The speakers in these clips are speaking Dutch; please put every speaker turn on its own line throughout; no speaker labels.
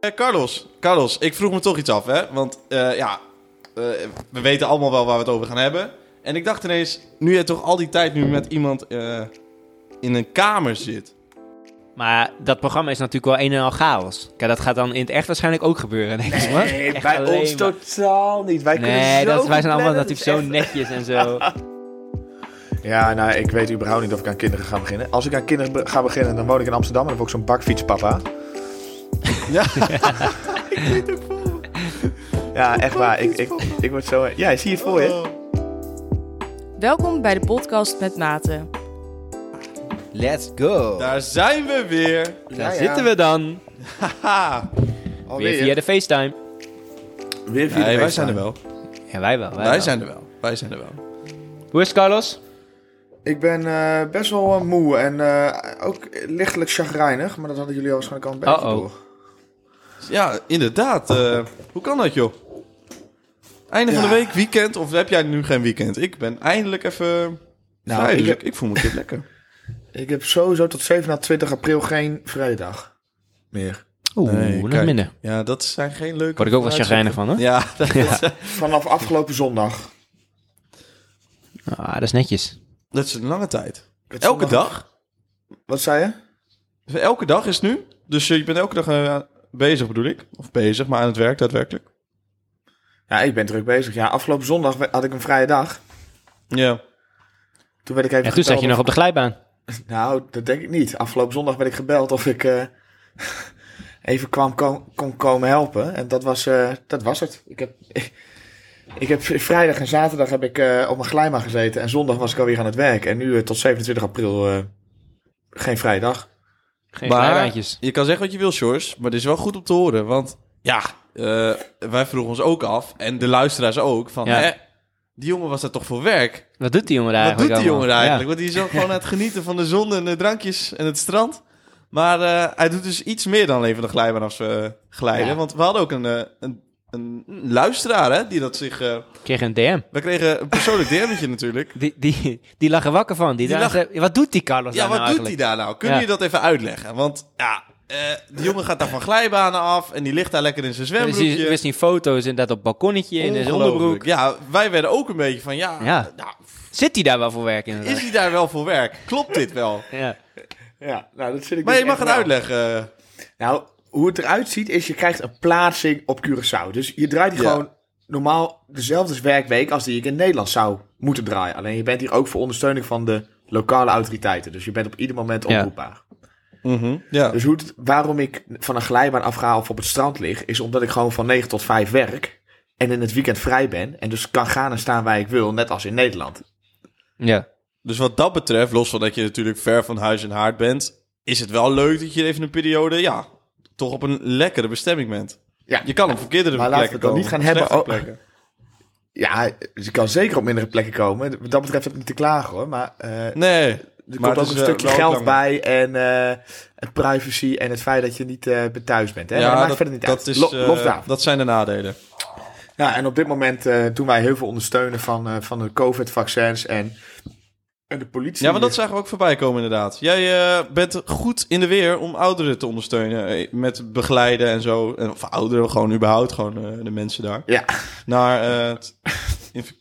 Eh, Carlos, Carlos, ik vroeg me toch iets af, hè? Want eh, ja, eh, we weten allemaal wel waar we het over gaan hebben. En ik dacht ineens, nu je toch al die tijd nu met iemand eh, in een kamer zit.
Maar dat programma is natuurlijk wel een en al chaos. Kijk, dat gaat dan in het echt waarschijnlijk ook gebeuren. denk ik, hoor.
Nee,
Echt
bij
alleen
ons
maar-
totaal niet. Wij kunnen
Nee,
zo
dat, wij
goed
zijn allemaal
plannen,
natuurlijk
dat
zo
is echt-
netjes en zo.
Ja, nou, ik weet überhaupt niet of ik aan kinderen ga beginnen. Als ik aan kinderen be- ga beginnen, dan woon ik in Amsterdam en dan word ik zo'n bakfietspapa.
Ja.
Ja, echt waar. Ik, ik, ik word zo... Ja, zie je voor je.
Welkom bij de podcast met Maten.
Let's go. Daar,
Daar zijn we weer.
Ja, ja.
zitten we dan.
Haha.
Weer via de FaceTime.
Weer via de
Nee, wij
weegschaal.
zijn er wel.
Ja, wij wel. Wij,
Wij
wel.
zijn er wel. Wij zijn er wel.
Hoe is het, Carlos?
Ik ben eh, best wel eh, moe en eh, ook lichtelijk chagrijnig. Maar dat hadden jullie waarschijnlijk al een beetje
Uh-oh.
door.
Ja, inderdaad. eh, hoe kan dat, joh? Einde van
Ja.
de week, weekend, of heb jij nu geen weekend? Ik ben eindelijk even
Nou,
vrij,
ik
dus
heb-
ik, ik voel me een keer lekker.
Ik heb sowieso tot 27 april geen vrijdag meer.
Oeh,
Nee,
nog
kijk.
minder.
Ja, dat zijn geen leuke...
Word ik ook wel
vooruitzichten.
chagrijnig van, hoor.
Ja, dat,
Vanaf afgelopen zondag.
Ah, dat is netjes.
dat is een lange tijd.
Het
Elke
zondag-
dag?
Wat zei je?
Elke dag is nu. Dus eh, je bent elke dag eh, bezig, bedoel ik. Of bezig, maar aan het werk daadwerkelijk.
Ja, ik ben druk bezig. Ja, afgelopen zondag we- had ik een vrije dag.
Ja.
Toen werd ik even
En toen zat je
gebeld
nog op de glijbaan.
of- Nou, dat denk ik niet. Afgelopen zondag werd ik gebeld of ik eh, even kwam ko- kon komen helpen. En dat was, eh, dat was het. Ik heb, ik heb vrijdag en zaterdag heb ik eh, op mijn glijma gezeten. En zondag was ik alweer aan het werk. En nu eh, tot 27 april eh, geen vrije dag.
Geen
Maar-
glijbaantjes.
Je kan zeggen wat je wil, Sjors. Maar dit is wel goed om te horen. Want ja, eh, wij vroegen ons ook af. En de luisteraars ook. Van,
Ja.
hè, die jongen was daar toch voor werk?
Wat doet die jongen daar
wat doet
eigenlijk
die jongen daar
allemaal?
eigenlijk? Want die is ook gewoon aan het genieten van de zon en de drankjes en het strand. Maar eh, hij doet dus iets meer dan alleen van de glijbaan als we glijden.
Ja.
Want we hadden ook een, eh, een, een luisteraar hè, die dat zich... eh,
Ja. Ik kreeg een DM.
we kregen een persoonlijk DM'tje natuurlijk.
Die, die, die lag er wakker van. Die
Die
dacht, eh, Wat doet die Carlos
Ja,
daar
wat
nou
doet hij
eigenlijk?
daar nou? Kun
Ja.
je dat even uitleggen? Want ja, eh die jongen gaat daar van glijbanen af en die ligt daar lekker in zijn
Dus die?
zwembroekje.
we zien foto's inderdaad op het balkonnetje in zijn
Ongelooflijk.
onderbroek.
Ja, wij werden ook een beetje van ja,
Ja.
nou,
Zit hij daar wel voor werk
is
inderdaad?
hij daar wel voor werk? Klopt dit wel?
Ja.
Ja, nou, dat zit ik
Maar
dus
je mag
echt
het
wel.
uitleggen.
Nou, hoe het eruit ziet is je krijgt een plaatsing op Curaçao. Dus je draait hier
Ja.
gewoon normaal dezelfde werkweek als die ik in Nederland zou moeten draaien. Alleen je bent hier ook voor ondersteuning van de lokale autoriteiten. Dus je bent op ieder moment
Ja.
oproepbaar.
Ja.
Dus hoe het, waarom ik van een glijbaan afga of op het strand lig, is omdat ik gewoon van 9 tot 5 werk. En in het weekend vrij ben. En dus kan gaan en staan waar ik wil, net als in Nederland.
ja.
Dus wat dat betreft, los van dat je natuurlijk ver van huis en haard bent, is het wel leuk dat je even een periode, ja, toch op een lekkere bestemming bent.
Ja.
Je kan op verkeerdere
Maar laten we
plekken
het dan
komen.
niet gaan
op
hebben
slechtere
o-
plekken.
Ja, dus ik kan zeker op mindere plekken komen. Wat dat betreft heb ik niet te klagen hoor. Maar eh,
Nee,
Er
maar
komt
dat
ook een
is, eh,
stukje
wel
geld
belangrijk.
bij en eh, het privacy en het feit dat je niet eh bij thuis bent. Hè? maar dat, maakt verder niet uit.
Is,
Lo-
eh,
los daarvan.
dat zijn de nadelen.
Ja, en op dit moment eh, doen wij heel veel ondersteunen van, eh, van de COVID-vaccins en, en de politie.
Ja, want dat zagen we ook voorbij komen inderdaad. Jij eh, bent goed in de weer om ouderen te ondersteunen. eh, Met begeleiden en zo. En- Of ouderen gewoon überhaupt, gewoon eh, de mensen daar.
Ja.
Naar eh, het- inf-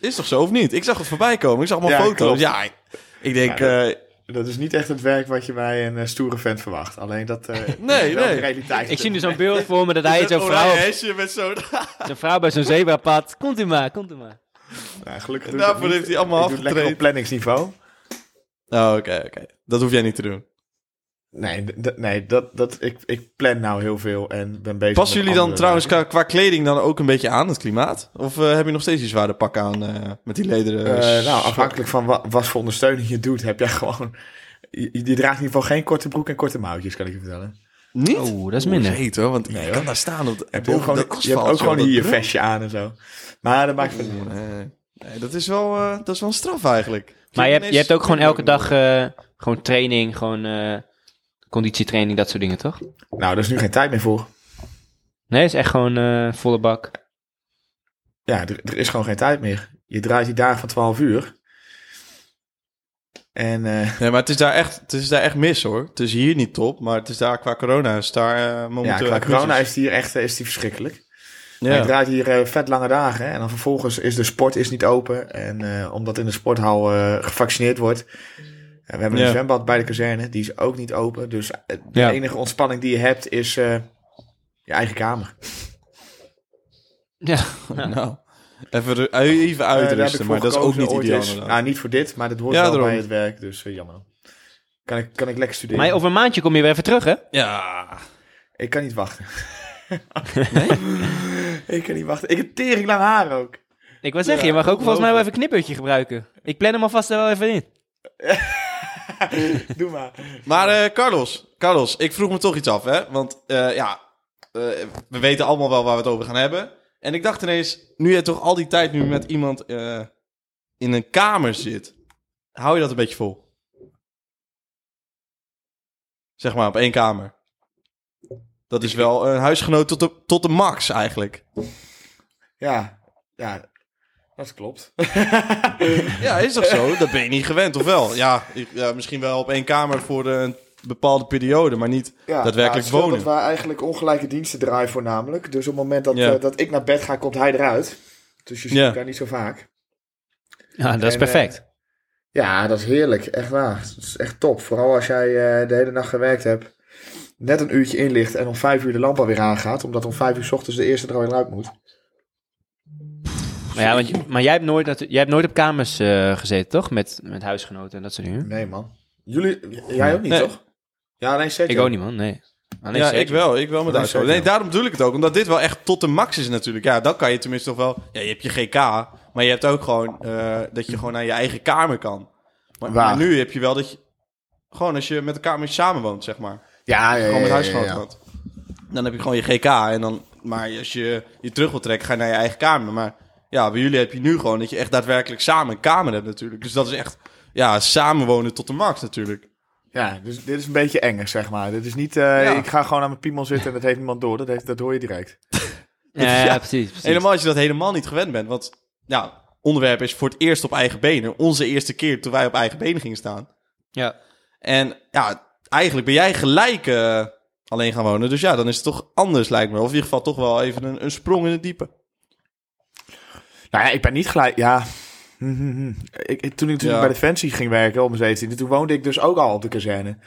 Is toch zo of niet? Ik zag het voorbij komen. Ik zag allemaal
Ja,
foto's.
klopt.
Ja, ik, ik denk...
Ja,
eh,
Dat is niet echt het werk wat je bij een eh, stoere vent verwacht. Alleen dat eh,
Nee,
is wel
nee.
de realiteit.
Ik zie nu zo'n beeld voor me dat hij
is
zo'n
het
vrouw,
oranje hesje met zo'n...
zo'n vrouw bij zo'n zebrapad. Komt u maar, komt u maar.
Ja, Nou, gelukkig doe ik
Daarvoor
dat niet.
heeft hij allemaal
Ik doe het lekker op
afgetraind.
planningsniveau.
Oh, oké, oké. Dat hoef jij niet te doen.
Nee, d- d- nee dat, dat, ik, ik plan nou heel veel en ben bezig
Passen
met
jullie dan
andere
trouwens
werken.
qua, qua kleding dan ook een beetje aan, het klimaat? Of eh, heb je nog steeds die zware pak aan eh, met die lederen?
Eh, nou,
sokken?
afhankelijk van wa- wat voor ondersteuning je doet, heb jij gewoon. Je, je draagt in ieder geval geen korte broek en korte mouwtjes, kan ik je vertellen.
Niet?
Oeh, dat is minder.
Heet, hoor, want
Nee,
je
hoor.
kan daar staan op de,
Je hebt, ook
boven
gewoon,
dat
je hebt
asfalt,
ook gewoon
joh,
hier je
dat-
vestje aan en zo. Maar dat maakt het niet.
Nee, nee, dat is wel, eh, dat is wel een straf eigenlijk.
Maar je hebt, je hebt ook gewoon elke
Ineens-
dag eh, gewoon training, gewoon eh, conditietraining, dat soort dingen, toch?
Nou, daar is nu geen tijd meer voor.
Nee, is echt gewoon eh, volle bak.
Ja, er, er is gewoon geen tijd meer. Je draait die dagen van 12 uur. En eh,
Nee, maar het is, daar echt, het is daar echt mis hoor. Het is hier niet top, maar het is daar qua corona is daar eh,
ja,
momenteel...
qua
echt
corona
crisis.
is die hier echt eh, is die verschrikkelijk.
Ja.
Ik draait hier eh, vet lange dagen. hè. En dan vervolgens is de sport is niet open. En eh, omdat in de sporthal eh, gevaccineerd wordt. En we hebben
Ja.
een zwembad bij de kazerne. Die is ook niet open. Dus eh, de
Ja.
enige ontspanning die je hebt is eh, je eigen kamer.
Ja.
Nou, even, ru- even
Eh,
uitrusten, maar dat is ook niet ideaal.
Ja,
inderdaad.
Nou, niet voor dit, maar dat hoort
Ja,
wel
daarom.
bij het werk. Dus eh, jammer. Kan ik, kan ik lekker studeren.
Maar over een maandje kom je weer even terug, hè?
Ja,
Ik kan niet wachten. ik kan niet wachten. Ik heb tering lang haar ook.
Ik wil zeggen, je mag ook volgens mij wel even een knippertje gebruiken. Ik plan hem alvast er wel even in.
Doe maar.
Maar eh, Carlos, Carlos, ik vroeg me toch iets af, hè? Want eh, ja, eh, we weten allemaal wel waar we het over gaan hebben. En ik dacht ineens, nu je toch al die tijd nu met iemand eh, in een kamer zit, hou je dat een beetje vol? Zeg maar, op één kamer. Dat is wel een huisgenoot tot de, tot de max eigenlijk.
Ja, ja, dat klopt.
Ja, is toch zo? Dat ben je niet gewend, of wel? Ja, ik- ja, misschien wel op één kamer voor eh, een bepaalde periode, maar niet
Ja,
Daadwerkelijk
ja, het scheelt
wonen.
Dat wij eigenlijk ongelijke diensten draaien voornamelijk. Dus op het moment dat,
Ja.
eh, dat ik naar bed ga, komt hij eruit. Dus je ziet
Ja.
elkaar niet zo vaak.
Ja, dat is
En,
perfect.
eh, ja, dat is heerlijk. Echt waar. Dat is echt top. Vooral als jij eh, de hele nacht gewerkt hebt. Net een uurtje in ligt en om vijf uur de lamp alweer aangaat. Omdat om vijf uur 's ochtends de eerste er alweer uit moet.
maar, ja, want, je- maar jij, hebt nooit, natu- jij hebt nooit op kamers eh, gezeten, toch? Met, met huisgenoten en dat soort dingen.
Nee, man. Jullie, j- jij ook niet,
Nee.
toch? Ja, alleen Sergio.
Ik ook niet, man. Nee. Alleen
ja,
zeker.
ik wel. Ik wel met
Ah, Dat
Duitsland.
is ook
Nee,
wel.
daarom bedoel ik het ook. Omdat dit wel echt tot de max is natuurlijk. Ja, dan kan je tenminste toch wel... Ja, je hebt je GK, maar je hebt ook gewoon... eh, dat je gewoon naar je eigen kamer kan. Maar,
Waar?
maar nu heb je wel dat je... Gewoon als je met elkaar met je samen woont, zeg maar.
Ja, ja, ja.
Gewoon met
ja,
huisgenoten.
ja.
woont. Dan heb je gewoon je GK. En dan, maar als je je terug wil trekken, ga je naar je eigen kamer. Maar ja, bij jullie heb je nu gewoon dat je echt daadwerkelijk samen een kamer hebt natuurlijk. Dus dat is echt... Ja, samenwonen tot de max natuurlijk.
Ja, dus dit is een beetje enger, zeg maar. Dit is niet, eh,
Ja.
ik ga gewoon aan mijn piemel zitten en dat heeft niemand door. Dat, heeft, dat hoor je direct.
Ja, ja,
Ja.
precies. precies.
Helemaal als je dat helemaal niet gewend bent. Want ja, onderwerp is voor het eerst op eigen benen. Onze eerste keer toen wij op eigen benen gingen staan.
Ja.
En ja, eigenlijk ben jij gelijk eh, alleen gaan wonen. Dus ja, dan is het toch anders lijkt me. Of in ieder geval toch wel even een, een sprong in het diepe.
Nou ja, ik ben niet gelijk, ja... Hm, hm, hm. Ik, ik- toen ik toen ik
Ja.
bij Defensie ging werken op mijn 17 toen woonde ik dus ook al op de kazerne.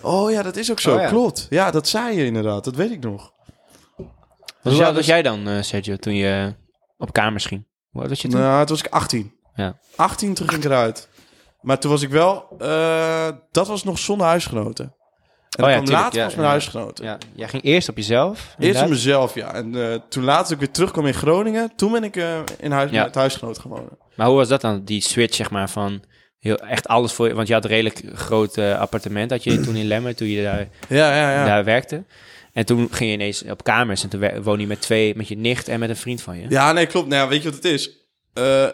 Oh ja, dat is ook zo.
Oh ja.
Klopt. Ja, dat zei je inderdaad. Dat weet ik nog. ja,
Hoe oud was
dus-
jij dan, eh, Sergio, toen je op kamers ging? Hoe oud was je toen?
Nou, toen was ik 18.
Ja.
18 toen ging ik eruit. Maar toen was ik wel... eh, dat was nog zonder huisgenoten. En dat
Oh ja,
kwam
tuurlijk,
later
ja,
pas mijn
ja.
huisgenoten.
Ja, jij ging eerst op jezelf.
Eerst op
inderdaad.
mezelf, ja. En eh, toen laatst ik weer terugkwam in Groningen, toen ben ik eh, in huis,
Ja.
met huisgenoot gaan wonen.
Maar hoe was dat dan, die switch, zeg maar, van heel, echt alles voor je? Want je had een redelijk groot eh, appartement, had je toen in Lemmer, toen je daar,
Ja, ja, ja.
daar werkte. En toen ging je ineens op kamers en toen wer- woonde je met twee, met je nicht en met een vriend van je.
Ja, nee, klopt. Nou, ja, weet je wat het is? Eh,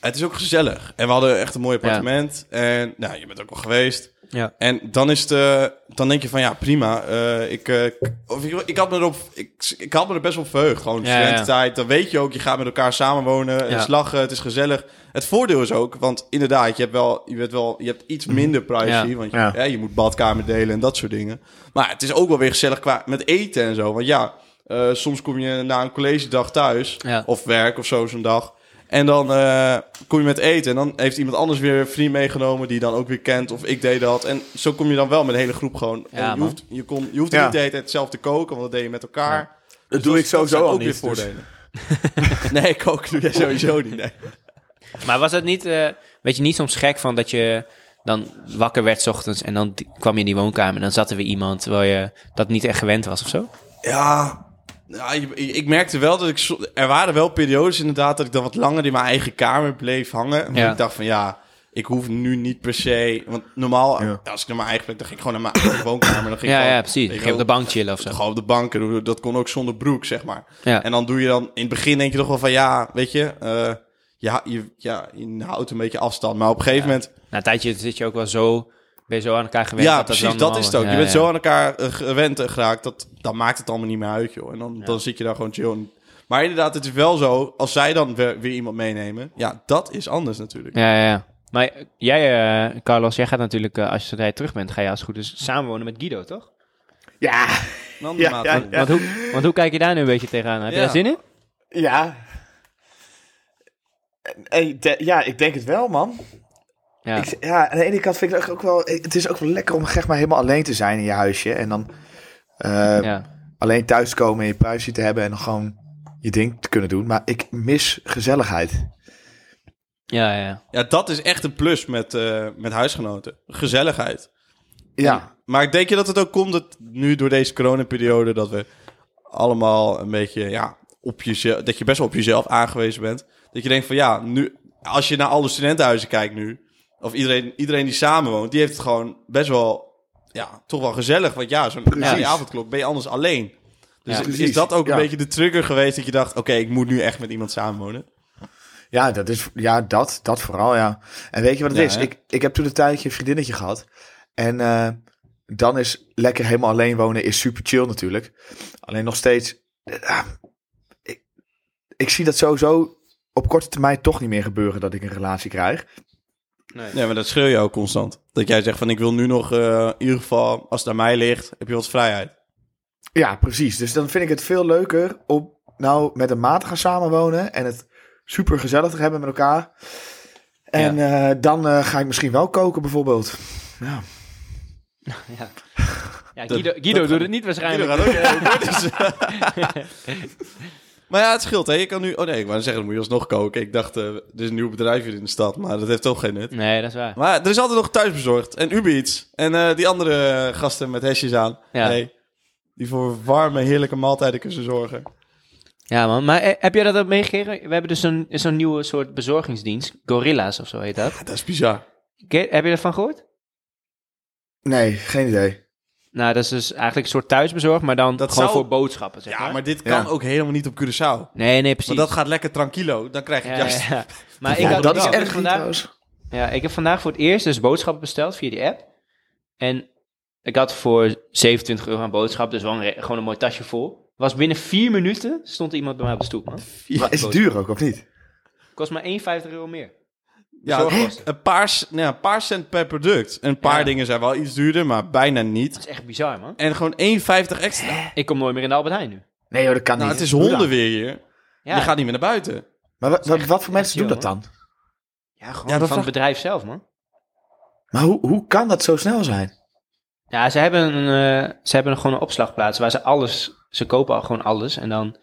het is ook gezellig. En we hadden echt een mooi appartement. En nou, je bent ook wel geweest.
Ja.
En dan is het, eh, dan denk je van ja, prima. eh, ik, eh, k- of ik, ik, had me erop, ik, ik had me er best wel verheugd. Gewoon
Ja,
studententijd. Dan weet je ook, je gaat met elkaar samenwonen. Het is
Ja.
lachen, het is gezellig. Het voordeel is ook, want inderdaad, je hebt wel, je bent wel, je hebt iets minder privacy.
Mhm. Ja.
Want je,
Ja.
hè, je moet badkamer delen en dat soort dingen. Maar het is ook wel weer gezellig qua met eten en zo. Want ja, eh, soms kom je na een college dag thuis
Ja.
of werk of zo zo'n dag. En dan eh, kom je met eten. En dan heeft iemand anders weer een vriend meegenomen die je dan ook weer kent. Of ik deed dat. En zo kom je dan wel met de hele groep gewoon.
Ja,
En je,
man.
hoeft, je, kon, je hoeft
Ja.
niet de hele tijd zelf te koken, want dat deed je met elkaar.
Ja.
Dus
Dat doe ik sowieso
zijn
al
ook
niet,
weer
dus.
voordelen. nee, ik ook doe jij sowieso niet. nee.
Maar was het niet, eh weet je, niet soms gek van dat je dan wakker werd 's ochtends en dan die- kwam je in die woonkamer en dan zat er weer iemand terwijl je dat niet echt gewend was of zo?
Ja, ja, je- ik merkte wel dat ik... zo- Er waren wel periodes inderdaad dat ik dan wat langer in mijn eigen kamer bleef hangen. Want
Ja.
ik dacht van ja, ik hoef nu niet per se... Want normaal,
Ja.
als ik naar mijn eigen plek, dan ging ik gewoon naar mijn eigen woonkamer. Dan ging ik
Ja,
gewoon,
ja, precies.
weet je
Ging op de
wel,
bank chillen of zo.
Gewoon op de bank. En dat kon ook zonder broek, zeg maar.
Ja.
En dan doe je dan... In het begin denk je toch wel van ja, weet je... eh, ja, je, ja, je houdt een beetje afstand. Maar op een gegeven moment...
Na een tijdje zit je ook wel zo, ben je zo aan elkaar gewend.
Ja,
dat
precies,
dan
dat
wel-
is het ook.
ja,
je bent
ja.
zo aan elkaar eh, gewend en geraakt, dat, dan maakt het allemaal niet meer uit, joh. En dan, dan zit je daar gewoon chill. in. Maar inderdaad, het is wel zo, als zij dan weer, weer iemand meenemen, ja, dat is anders natuurlijk.
Ja, ja, ja. Maar jij, eh, Carlos, jij gaat natuurlijk, eh, als je terug bent, ga je als het goed is samenwonen met Guido, toch?
Ja,
Een andere
Ja,
maat.
ja, ja.
Want, hoe, want hoe kijk je daar nu een beetje tegenaan? Heb je
Ja.
daar zin in?
ja. En ik de- ja, ik denk het wel, man.
Ja.
Ik, ja, aan de ene kant vind ik het ook wel... Het is ook wel lekker om echt maar helemaal alleen te zijn in je huisje. En dan eh,
ja.
alleen thuis te komen en je privacy te hebben. En dan gewoon je ding te kunnen doen. Maar ik mis gezelligheid.
Ja, ja, ja.
Ja, dat is echt een plus met, eh, met huisgenoten. Gezelligheid.
Ja,
Maar denk je dat het ook komt dat nu door deze coronaperiode dat we allemaal een beetje, ja, op jezelf, dat je best wel op jezelf aangewezen bent. Dat je denkt van ja, nu, als je naar alle studentenhuizen kijkt nu, of iedereen, iedereen die samenwoont, die heeft het gewoon best wel, ja, toch wel gezellig. Want ja, zo'n
Precies.
ja, avondklok ben je anders alleen. Dus
Ja.
is
Precies,
dat ook
ja.
een beetje de trigger geweest dat je dacht, oké, ik moet nu echt met iemand samenwonen?
ja, dat, is, ja dat, dat vooral, ja. En weet je wat het
Ja,
is?
hè?
Ik, ik heb toen een tijdje een vriendinnetje gehad. En eh, dan is lekker helemaal alleen wonen is super chill natuurlijk. Alleen nog steeds... eh, ah, ik, ik zie dat sowieso op korte termijn toch niet meer gebeuren dat ik een relatie krijg.
Ja, maar dat schreeuw je ook constant. Dat jij zegt van ik wil nu nog, eh, in ieder geval, als het aan mij ligt, heb je wat vrijheid.
Ja, precies. Dus dan vind ik het veel leuker om nou met een maat te gaan samenwonen en het super gezellig te hebben met elkaar. En eh, dan eh, ga ik misschien wel koken bijvoorbeeld.
ja Guido, Guido doet het niet waarschijnlijk.
Iedereen gaat ook koken, dus- maar ja, het scheelt, hè. Je kan nu... Oh nee, ik wou zeggen, dan moet je alsnog koken. Ik dacht, eh, er is een nieuw bedrijf hier in de stad, maar dat heeft toch geen nut.
Nee, dat is waar.
Maar er is altijd nog thuisbezorgd en Uber Eats en eh, die andere eh, gasten met hesjes aan.
Ja.
Nee, die voor warme, heerlijke maaltijden kunnen zorgen.
Ja, man. Maar eh, heb jij dat ook meegekregen? We hebben dus zo'n zo'n nieuwe soort bezorgingsdienst. Gorilla's of zo heet dat.
Ja, dat is bizar.
Ke- Heb je daarvan gehoord?
Nee, geen idee.
Nou, dat is dus eigenlijk een soort thuisbezorg, maar dan
Dat
gewoon
zou-
voor boodschappen, zeg
Ja,
maar.
maar dit
Ja.
kan ook helemaal niet op Curaçao.
Nee, nee, precies.
Want dat gaat lekker tranquilo, dan krijg je
Ja,
juist...
ja, ja. Maar ik
ja,
had-
dat
ik
is
had dus
erg niet
vandaag,
trouwens.
Ja, ik heb vandaag voor het eerst dus boodschappen besteld via die app. En ik had voor 27 euro aan boodschap, dus wel een re- gewoon een mooi tasje vol. Was binnen vier minuten stond er iemand bij mij op de stoep, man.
Maar is het duur ook, of niet?
Kost maar 1,50 euro meer.
Ja,
Zorgkosten.
een paar, c- nou ja, een paar cent per product. Een paar
Ja.
dingen zijn wel iets duurder, maar bijna niet.
Dat is echt bizar, man.
En gewoon 1,50 extra.
Ik kom nooit meer in de Albert Heijn nu.
Nee hoor, dat
Ah,
kan
Nou,
niet.
het is
Hoe dan?
honden weer hier.
Ja,
Je gaat niet meer naar buiten.
Maar wat, wat, wat voor mensen
echt
doen dat dan?
ja gewoon
Ja, dat
van
vraag-
het bedrijf zelf, man.
Maar hoe, hoe kan dat zo snel zijn?
Ja, ze hebben, een, eh, ze hebben gewoon een opslagplaats waar ze alles... Ze kopen al gewoon alles en dan...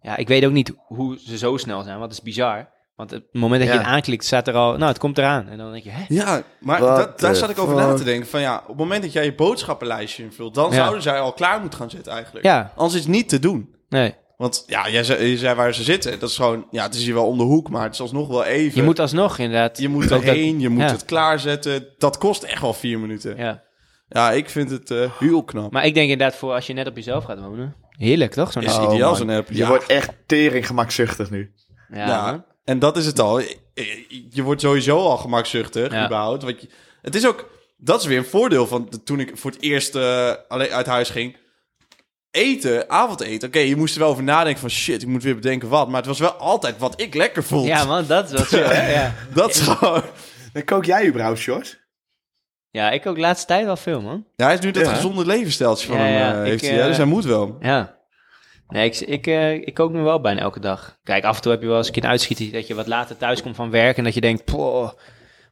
Ja, ik weet ook niet hoe ze zo snel zijn, want het is bizar. Want op het moment dat
Ja.
je het aanklikt, staat er al... Nou, het komt eraan. En dan denk je, hè?
Ja, maar
What
dat, daar
the
zat ik over na
fuck?
te denken. Van ja, op het moment dat jij je boodschappenlijstje invult, dan
Ja.
zouden zij al klaar moeten gaan zitten eigenlijk.
Ja,
Anders is het niet te doen.
nee.
Want ja, jij zei, je zei waar ze zitten. Dat is gewoon, ja, het is hier wel om de hoek, maar het is alsnog wel even.
Je moet alsnog inderdaad.
je moet erheen, je moet
ja.
het klaarzetten. Dat kost echt wel vier minuten. Ja,
Ja.
ik vind het eh, heel knap.
Maar ik denk inderdaad voor als je net op jezelf gaat wonen. Heerlijk toch? Zo'n
is
Oh,
ideaal
man.
zo'n app.
Je
ja.
wordt echt tering gemakzuchtig nu.
Ja,
Ja,
man.
Nou, en dat is het al. Je wordt sowieso al gemakzuchtig,
Ja.
überhaupt. Want je- het is ook... Dat is weer een voordeel van de- toen ik voor het eerst eh, alleen uit huis ging. Eten, avondeten. Oké, je moest er wel over nadenken van... Shit, ik moet weer bedenken wat. Maar het was wel altijd wat ik lekker vond.
ja man, dat is wel zo. hè? ja.
Dat is gewoon...
Dan kook jij überhaupt, Sjors?
ja, ik ook laatste tijd wel veel man.
Ja, hij is nu dat
Ja.
gezonde levensstijltje van
Ja,
hem.
ja,
eh,
ik,
heeft hij, hè?
eh,
dus hij moet wel.
Ja. Nee, ik, ik, eh, ik kook nu wel bijna elke dag. Kijk, af en toe heb je wel eens een keer een uitschieter dat je wat later thuis komt van werk en dat je denkt, poh. Maar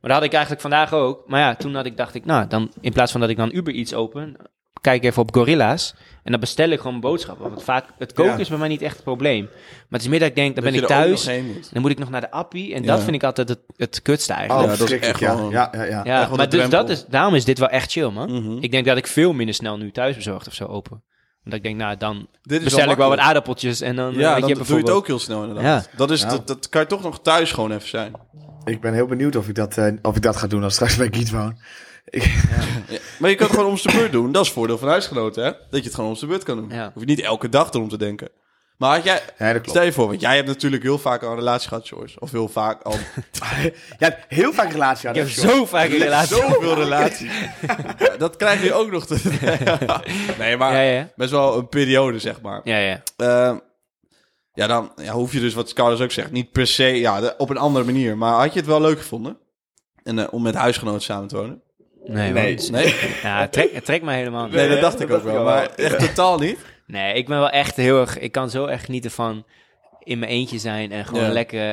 dat had ik eigenlijk vandaag ook. Maar ja, toen had ik, dacht ik, nou, dan, in plaats van dat ik dan Uber iets open, kijk ik even op Gorilla's en dan bestel ik gewoon boodschappen. Want vaak, het koken
Ja.
is bij mij niet echt het probleem. Maar het is meer dat ik denk, dan ben ik
Dat je er ook
thuis.
nog heen moet.
En dan moet ik nog naar de appie. En
Ja.
dat vind ik altijd het, het kutste
Oh,
eigenlijk.
dat is
verschrikkelijk,
echt
ja.
wel-
ja, ja, ja.
ja,
echt wel
maar
de
dus
drempel.
dat is, daarom is dit wel echt chill, man.
Mhm.
Ik denk dat ik veel minder snel nu thuis bezorgd of zo open. Omdat ik denk, nou, dan
Dit is
bestel ik wel wat
makkelijk.
aardappeltjes en dan...
Ja,
eh, weet
dan
je,
doe je het
bijvoorbeeld-
ook heel snel inderdaad. Dat, is,
Ja.
dat, dat kan je toch nog thuis gewoon even zijn.
Ik ben heel benieuwd of ik dat, eh, of ik dat ga doen als ik straks bij Giet woon.
Ja, Maar je kan het gewoon om zijn beurt doen. Dat is het voordeel van huisgenoten, hè? Dat je het gewoon om zijn beurt kan doen.
Ja.
Hoef je niet elke dag erom te denken. Maar had jij...
Ja, dat klopt.
Stel je voor, want jij hebt natuurlijk heel vaak al een relatie gehad, George. Of heel vaak al...
Jij hebt heel vaak relatie aan
Ik heb zo vaak een relatie.
Zoveel relatie. Ja, dat krijg je ook nog te... nee, maar
Ja, ja.
best wel een periode, zeg maar.
Ja, ja.
Ehm, ja, dan ja, hoef je dus, wat Carlos ook zegt, niet per se... Ja, de- op een andere manier. Maar had je het wel leuk gevonden? En eh, om met huisgenoten samen te wonen.
Nee,
Nee.
want-
Nee,
Ja, het trekt het trekt me helemaal niet.
nee dat
hè?
dacht ik ook wel. Maar echt totaal niet.
Nee, ik ben wel echt heel erg... Ik kan zo echt genieten van in mijn eentje zijn en gewoon
Ja.
lekker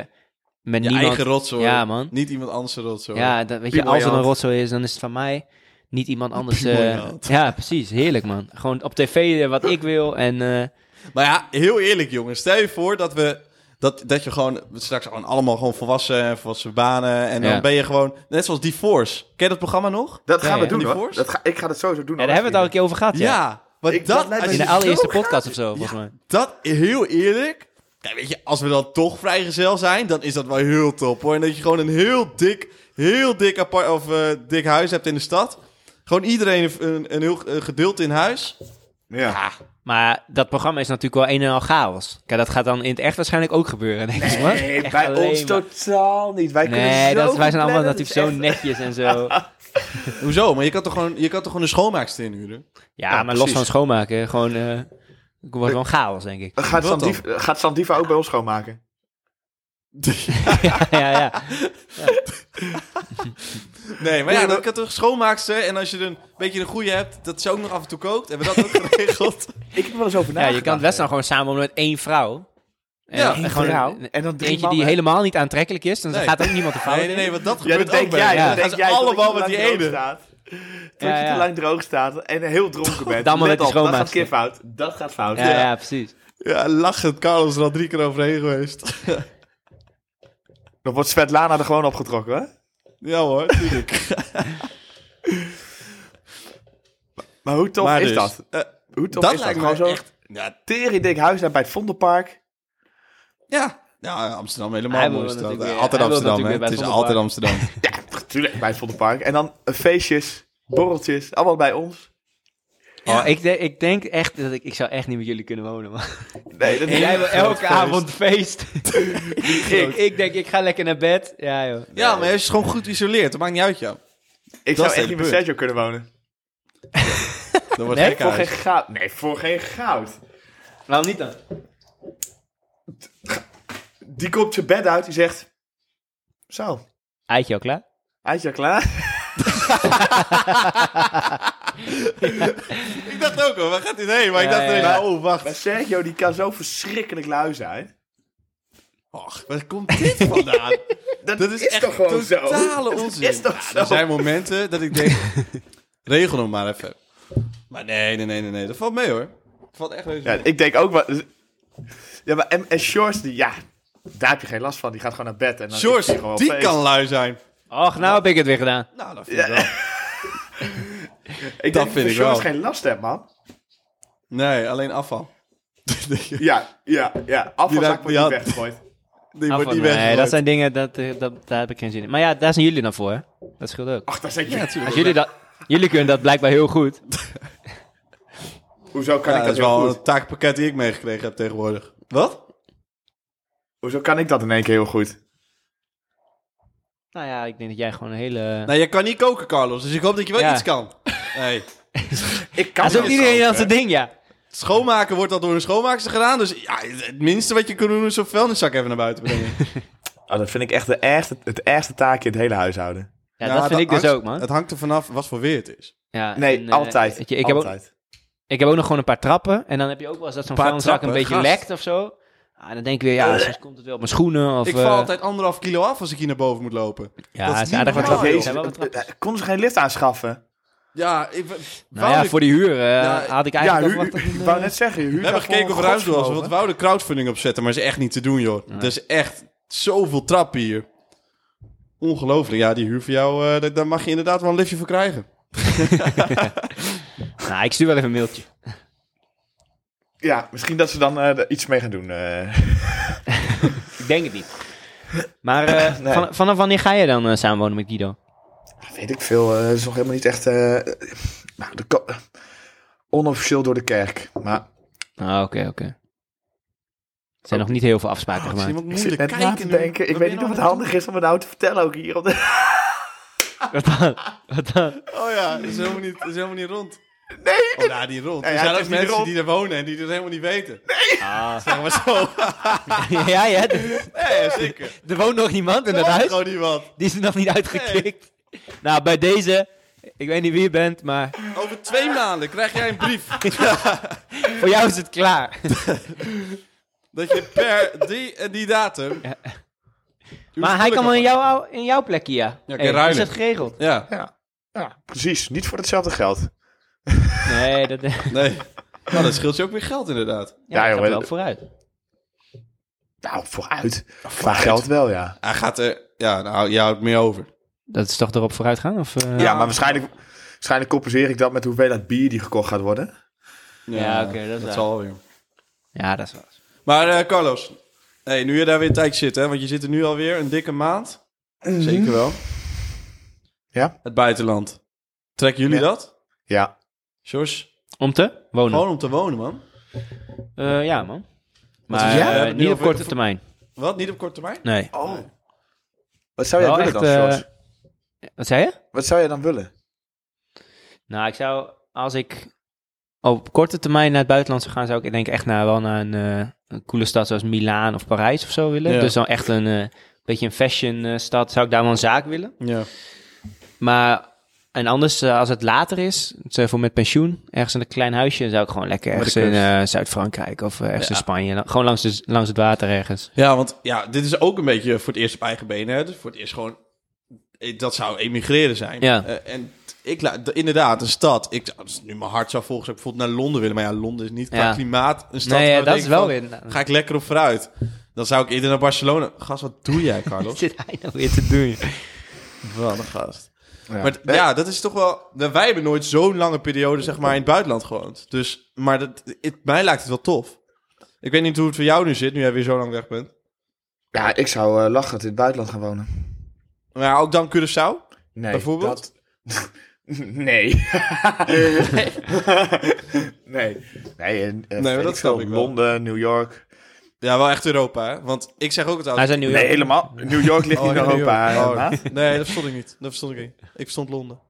met
Je
niemand...
eigen rotzooi.
Ja, man.
Niet iemand anders rotzooi.
Ja, dat, weet je,
Piemel
als er een
Jant.
rotzooi is, dan is het van mij. Niet iemand anders.
Piemel
eh,
Jant.
ja, precies. Heerlijk, man. Gewoon op tv wat ik wil. En eh,
Maar ja, heel eerlijk jongens. Stel je voor dat we... Dat, dat je gewoon straks gewoon allemaal gewoon volwassen, en volwassen banen. En
Ja.
dan ben je gewoon... Net zoals die Force. Ken je dat programma nog?
Dat
Ja,
gaan we
ja.
doen
Die
hoor.
Force?
Dat ga, ik ga dat sowieso doen.
ja, daar hebben we het al een keer over gehad. Ja.
Ja. Want
Ik- dat
dat,
lijkt me
als
In
je
de allereerste
Zo gaaf.
podcast of zo, volgens mij.
Dat, heel eerlijk... Kijk, weet je, als we dan toch vrijgezel zijn, dan is dat wel heel top hoor. En dat je gewoon een heel dik, heel dik, apart, of, eh, dik huis hebt in de stad. Gewoon iedereen een, een heel eh, gedeelte in huis.
Ja.
Maar dat programma is natuurlijk wel een en al chaos. Kijk, dat gaat dan in het echt waarschijnlijk ook gebeuren, denk ik. man.
Nee,
Echt
bij
alleen
ons
maar-
totaal niet. Wij kunnen
Nee,
zo
dat, wij
goed
zijn allemaal
plannen,
natuurlijk zo
is echt-
netjes en zo.
Hoezo? Maar je kan toch gewoon, je kan toch gewoon een schoonmaakster inhuren?
Ja,
Ja,
maar los
precies.
van schoonmaken, gewoon... eh het wordt gewoon chaos, denk ik.
Gaat
Wat
Sandief, gaat Sandiva ook bij ons schoonmaken?
ja, ja, ja.
Nee, maar ja, dan kan toch schoonmaakster. En als je een beetje een goede hebt, dat ze ook nog af en toe kookt. Hebben we dat ook geregeld?
Ik heb er wel eens over
ja,
nagedacht.
je kan het best dan gewoon samen met één vrouw. En,
Ja,
en
Eén
gewoon
vrouw.
een-
en dan drie
Eentje die
mannen.
helemaal niet aantrekkelijk is, dan
Nee.
gaat ook niemand de fout
Nee, nee, nee, want dat
Ja,
gebeurt
dat
ook
denk
bij
jij.
Ja.
Dat
Gaan
denk
ze
jij.
allemaal met die ene.
Staat. Dat
Ja,
je
ja.
te lang droog staat en heel dronken bent.
Dan maar met die
Let op, Dat gaat
schoonmaakster.
een keer fout. Dat gaat fout.
Ja, ja, precies.
Ja, lachend. Carlos is er al drie keer overheen geweest.
Dan wordt Svetlana er gewoon opgetrokken, hè?
ja hoor, tuurlijk.
Maar hoe tof
Maar
is
dus,
dat?
eh,
Hoe tof
dat
is dat?
lijkt
Gewoon
me
zo'n
echt... Ja,
teringdik huis daar bij het Vondelpark.
ja. Ja, Amsterdam helemaal
Hij
een
wil
mooie stad.
natuurlijk weer-
altijd
hij wil
Amsterdam, hè.
natuurlijk
Het
weer
is
bij
altijd Amsterdam.
Tuurlijk, bij het Vondelpark. En dan eh, feestjes, borreltjes, allemaal bij ons.
Oh, ik, de- ik denk echt dat ik, ik zou echt niet met jullie kunnen wonen, man.
Nee, dat
Jij wil
Groot
elke
feest.
avond feest. ik, ik denk, ik ga lekker naar bed. Ja, joh.
Ja, maar je is gewoon goed geïsoleerd. Dat maakt niet uit, joh. Dat
Ik zou
is
echt
het
niet met
punt.
Sergio kunnen wonen.
Dat wordt
Nee,
gek
Voor geen
huis.
goud. Nee, voor geen goud.
Waarom niet dan?
Die komt zijn bed uit, die zegt... Zo,
Eitje al klaar?
uitje al klaar?
Ik dacht ook, hoor. Waar gaat dit heen? Maar ik
Ja,
dacht,
ja,
ineens,
ja.
oh,
Maar
wacht.
Sergio, die kan zo verschrikkelijk lui zijn.
Och, waar komt dit vandaan?
Dat,
Dat is, echt
toch gewoon zo?
totale onzin.
is toch
Er
zo?
zijn momenten dat ik denk, regel hem maar even. Maar nee, nee, nee, nee, nee. Dat valt mee hoor. Dat valt echt mee. Nou,
Ja, ik denk ook wel... Ja, maar en, en Shores, die, ja, daar heb je geen last van. Die gaat gewoon naar bed. En dan is hij
George,
gewoon
die
feest.
kan lui zijn.
Och, nou heb ik het weer gedaan.
Nou, dat vind ik wel. dat
Ik denk
vind
van
ik
Shores
wel.
geen last hebt, man.
Nee, alleen afval. die
Ja, ja, ja. Afvalzak
raakt-
wordt niet
ja.
weggegooid.
wordt
Afval,
niet
nee,
weggegooid.
dat zijn dingen, dat, eh, dat, daar heb ik geen zin in. Maar ja, daar zijn jullie dan voor, hè? Dat scheelt ook.
Ach, daar zit je.
Als jullie, dat, jullie kunnen dat blijkbaar heel goed.
Hoezo kan
Ja, dat
ik dat
is
heel
wel
goed?
een taakpakket die ik meegekregen heb tegenwoordig. Wat?
Hoezo kan ik dat in één keer heel goed?
Nou ja, ik denk dat jij gewoon een hele...
Nou, je kan niet koken, Carlos, dus ik hoop dat je wel
Ja.
iets kan. Nee.
Ik kan
dat is ook
wel
iedereen
koken.
dat zijn ding, ja.
Schoonmaken wordt al door een schoonmaakster gedaan, dus ja, het minste wat je kan doen is zo'n vuilniszak even naar buiten brengen.
Oh, dat vind ik echt de ergste, het ergste taakje in het hele huishouden.
Ja,
Nou,
dat vind ik dus
hangt-
ook, man.
Het hangt er vanaf wat voor weer het is.
Ja,
Nee,
en, eh,
altijd.
weet je, ik, heb ook,
altijd.
ik heb ook nog gewoon een paar trappen. En dan heb je ook wel eens dat zo'n
Paar
vuilniszak een
trappen,
beetje
gast. Eh.
lekt of zo. Ah, en dan denk ik weer, ja, soms komt het wel op mijn schoenen. Of,
ik val
eh,
altijd anderhalf kilo af als ik hier naar boven moet lopen.
Ja,
dat is
het
niet
zijn aardig wat
normaal,
trappen.
joh.
Het
Jezus,
zijn wel wat trappen.
eh, konden ze geen lift aanschaffen?
Ja, ik,
Nou ja, voor die huur eh,
Ja,
had ik
ja,
eigenlijk
hu-
al verwacht
hu-
dat
ik
het,
wou
eh,
net zeggen.
we hebben gekeken of we ruimte was. Want we wouden crowdfunding opzetten, maar is echt niet te doen, joh. Er is echt zoveel trap hier. Ongelooflijk. Ja, die huur voor jou, eh, daar- daar mag je inderdaad wel een liftje voor krijgen.
Nou, ik stuur wel even een mailtje.
Ja, misschien dat ze dan eh, er iets mee gaan doen. eh.
Ik denk het niet. Maar eh,
Nee.
van, vanaf wanneer ga je dan eh, samenwonen met Guido?
Weet ik veel. eh, Het is nog helemaal niet echt... eh, nou, de ko- onofficieel door de kerk. Maar
Ah, oké, oké. Er zijn nog niet heel veel
Ah,
afspraken
Ik zie
gemaakt.
iemand
ik zit
moeilijk
net na te
kijken nu.
denken. Ik
Waar
weet
ben
niet
je
of het
nou
handig is om het nou te vertellen ook hier. Op de...
Wat dan? Wat dan?
naartoe? Oh ja, dat is helemaal niet, dat is helemaal niet rond. Oh, nou, die rolt.
Ja,
er
ja,
zijn
het
ook
is die
mensen
rol.
die er wonen en die dat helemaal niet weten.
Ah.
Zeg maar zo.
ja, ja. d-
Nee, zeker.
Er woont nog niemand in
Dat
dat
is
huis.
gewoon iemand.
Die is er nog niet uitgeklikt. Nou, bij deze. Ik weet niet wie je bent, maar
Over twee maanden krijg jij een brief
voor jou is het klaar.
dat je per die en die datum...
Ja.
Je
Maar hij kan wel
huwelijk
in jouw, in jouw plek hier.
kan
Hey,
ruilen.
Is dat geregeld?
Ja,
Ja. ja, precies. Niet voor hetzelfde geld.
Nee, dat... Ja,
nee. Nou, dat scheelt je ook weer geld inderdaad.
ja
joh,
gaat wel
dat-
vooruit.
Nou, vooruit. Qua geld wel, ja.
Hij gaat er... Ja, nou, je houdt meer over.
Dat is toch erop vooruit gaan? Of, eh?
Ja, maar waarschijnlijk, waarschijnlijk compenseer ik dat met de hoeveelheid bier die gekocht gaat worden.
Ja, oké, dat is waar.
zal wel weer.
Ja, dat is wel.
Maar eh, Carlos, hey, nu je daar weer een tijdje zit, hè, want je zit er nu alweer een dikke maand. Zeker wel.
Mhm. Ja.
Het buitenland. Trekken jullie
Ja.
dat?
Ja.
Jos,
Om te wonen.
gewoon om te wonen, man.
Eh, ja, man. Maar
Ja?
eh,
Ja,
niet
nu
op
over-
korte termijn.
Wat? Niet op korte termijn?
Nee.
Oh. Wat zou jij
Wel
willen
echt,
dan,
eh,
Sjors?
Wat zei je?
Wat zou jij dan willen?
Nou, ik zou, als ik op korte termijn naar het buitenland zou gaan, zou ik denk ik echt naar, wel naar een, eh, een coole stad zoals Milaan of Parijs of zo willen.
Ja.
Dus dan echt een eh, beetje een fashion eh, stad, zou ik daar wel een zaak willen.
Ja.
Maar, en anders, eh, als het later is, dus, eh, voor met pensioen, ergens in een klein huisje, zou ik gewoon lekker
Met de
ergens in
kust.
eh, Zuid-Frankrijk of eh, ergens in Spanje. la- Gewoon langs, de, langs het water ergens.
Ja, want ja, dit is ook een beetje voor het eerst op eigen benen. Hè? Dus voor het eerst gewoon... eh, Dat zou emigreren zijn.
Ja.
Eh, en t- ik, la- d- inderdaad, een stad. Ik, zou- als nu mijn hart zou volgen, zou ik bijvoorbeeld naar Londen willen. Maar ja, Londen is niet qua
Ja.
klimaat een stad
Nee,
waar
ja,
ik
dat
denk
is wel
van,
weer...
Ga ik lekker op vooruit. Dan zou ik eerder naar Barcelona. Gast, wat doe jij,
Wat
Carlos?
zit hij nou weer te doen?
wat een gast.
Ja.
Maar t- ja, dat is toch wel... nou, Wij hebben nooit zo'n lange periode zeg maar, in het buitenland gewoond. Dus, maar dat, het, mij lijkt het wel tof. Ik weet niet hoe het voor jou nu zit, nu jij weer zo lang weg bent.
Ja, ik zou eh, lachend in het buitenland gaan wonen.
Maar ja, ook dan Curaçao.
Nee,
Bijvoorbeeld?
dat- nee. nee. Nee, en, eh,
maar
weet
dat
ik veel,
snap ik wel.
Londen, New York.
Ja, wel echt Europa, hè? Want ik zeg ook het
Hij
altijd...
zijn New York.
Nee, helemaal. New York ligt
Oh,
in
heel New
Europa.
York.
eh,
Oh,
maar-
nee, dat verstond ik niet. Dat verstond ik niet. Ik verstond Londen.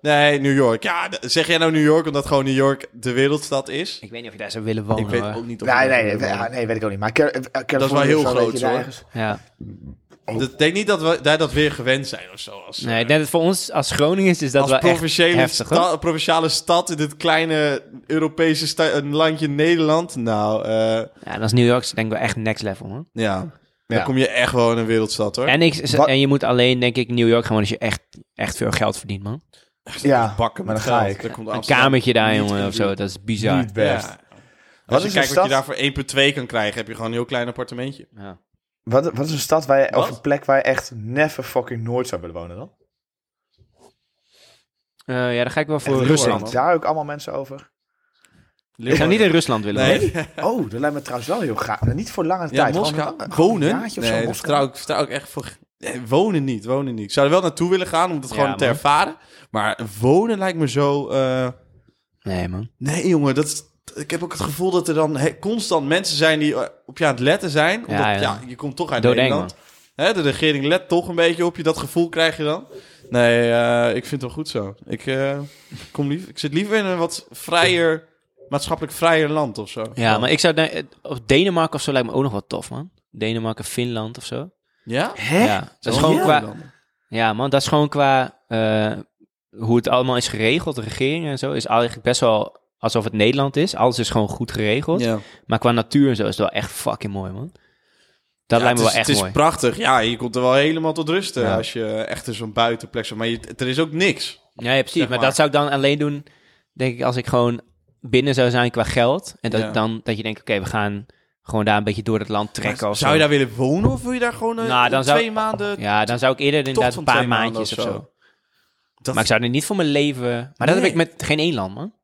Nee, New York. Ja, d- zeg jij nou New York omdat gewoon New York de wereldstad is?
Ik weet niet of je daar zou willen wonen.
Ik weet
hoor.
ook niet of...
Nee,
ik daar
nee,
wil
nee,
wonen.
ja, nee, weet ik ook niet. Maar Car- eh, Californië
Dat is wel heel
of zo, weet
groot,
je, daar
hoor.
ergens.
Ja.
Ik denk niet dat we daar dat weer gewend zijn of zo. Als,
Nee, ik denk dat voor ons als Groningers is dat
als
wel echt
provinciële,
heftig, hoor.
sta- provinciale stad in dit kleine Europese sta- een landje Nederland. Nou, eh,
Ja, en als New York is denk ik wel echt next level, hoor.
ja. Dan
Ja.
kom je echt gewoon in een wereldstad hoor.
En, ik,
Wat-
en je moet alleen, denk ik, New York gewoon als je echt, echt veel geld verdient, man.
Ja,
Bakken
maar
met
dan ga
geld.
ik.
Dan komt
Een
Amsterdam
kamertje daar,
niet
jongen,
in
of zo.
buurt.
Dat is bizar.
Niet best.
Ja.
Wat
Als je
is een
kijkt wat je
stad?
daar voor 1,2 kan krijgen, heb je gewoon een heel klein appartementje.
Ja.
Wat, wat is een stad waar je, of
Wat?
een plek waar je echt never fucking nooit zou willen wonen dan?
Eh, ja, dan ga ik wel voor
Echt
Rusland.
Rusland.
Daar ook allemaal mensen over.
Ik zou niet in Rusland willen
Nee.
wonen.
Oh, dat lijkt me trouwens wel heel gaaf. Maar Niet voor lange
Ja,
tijd. gewoon
Moskou.
een- gewoon Ah, een
Wonen?
jaartje of
Nee,
zo,
daar
Moskou.
vertrouw ik, vertrouw ik echt voor... Nee, wonen niet, wonen niet. Ik zou er wel naartoe willen gaan om dat
Ja,
gewoon te
man.
ervaren. Maar wonen lijkt me zo... eh,
Nee, man.
Nee, jongen, dat is- ik heb ook het gevoel dat er dan he- constant mensen zijn die eh, op je aan het letten zijn. Omdat, ja,
ja.
je komt toch uit
Doodeng,
Nederland. Hè, de regering let toch een beetje op je. Dat gevoel krijg je dan. Nee, eh, ik vind het wel goed zo. Ik, eh, kom lief, ik zit liever in een wat vrijer, maatschappelijk vrijer land of zo.
Ja, maar ik zou... denk- eh, Of Denemarken of zo lijkt me ook nog wel tof, man. Denemarken, Finland of zo.
Ja?
Hè?
Ja, dat is
Oh,
gewoon
ja.
qua... Ja, man, dat is gewoon qua eh, hoe het allemaal is geregeld. De regering en zo is eigenlijk best wel alsof het Nederland is. Alles is gewoon goed geregeld.
Ja.
Maar qua natuur en zo is het wel echt fucking mooi, man. Dat
Ja,
lijkt me
het
wel
is-
echt
Het is
mooi.
prachtig. Ja, je komt er wel helemaal tot rusten
Ja.
als je echt in zo'n buitenplek zit. Maar je, er is ook niks.
Ja, ja, precies.
zeg
maar,
maar.
dat zou ik dan alleen doen, denk ik, als ik gewoon binnen zou zijn qua geld. En dat,
Ja.
ik dan, dat je denkt, oké, we gaan gewoon daar een beetje door het land trekken.
Maar
Of
zou
zo.
je daar willen wonen of wil je daar gewoon eh,
Nou, dan zou-
twee maanden...
Ja, dan zou ik eerder inderdaad
van
een paar
twee maanden
maandjes of
of
zo.
zo. Dat-
Maar ik zou er niet voor mijn leven... Maar dat heb
Nee.
ik met geen één land, man.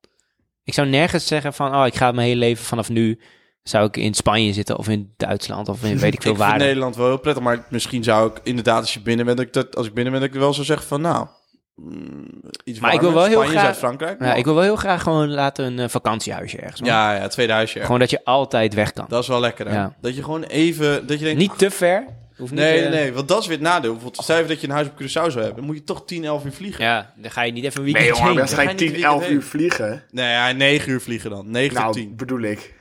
Ik zou nergens zeggen van... Oh, ik ga mijn hele leven vanaf nu... Zou ik in Spanje zitten of in Duitsland of in weet ik veel
ik vind
waar.
Nederland wel heel prettig, maar misschien zou ik inderdaad als je binnen bent, dat ik dat, als ik binnen ben, dat ik wel zou zeggen van, nou, mm, iets
Maar
warmer.
ik wil wel heel
Spanje,
graag-
Zuid-Frankrijk.
Ja, ik wil wel heel graag gewoon laten een eh, vakantiehuisje ergens. man.
ja, ja, het tweede huisje.
Gewoon dat je altijd weg kan.
Dat is wel lekker, hè?
Ja.
Dat je gewoon even, dat je denkt,
Niet te ver, Hoeft niet,
Nee, nee,
eh,
nee, want dat is weer het nadeel. Bijvoorbeeld, stel even dat je een huis op Curaçao zou hebben, dan moet je toch 10, 11 uur vliegen.
Ja, dan ga je niet even een
Nee
weekend
jongen,
heen.
dat ga
ga
je
je niet
10,
weekend
11
heen.
uur vliegen.
Nee, ja, 9 uur vliegen dan. 9 tot
Nou,
10.
bedoel ik.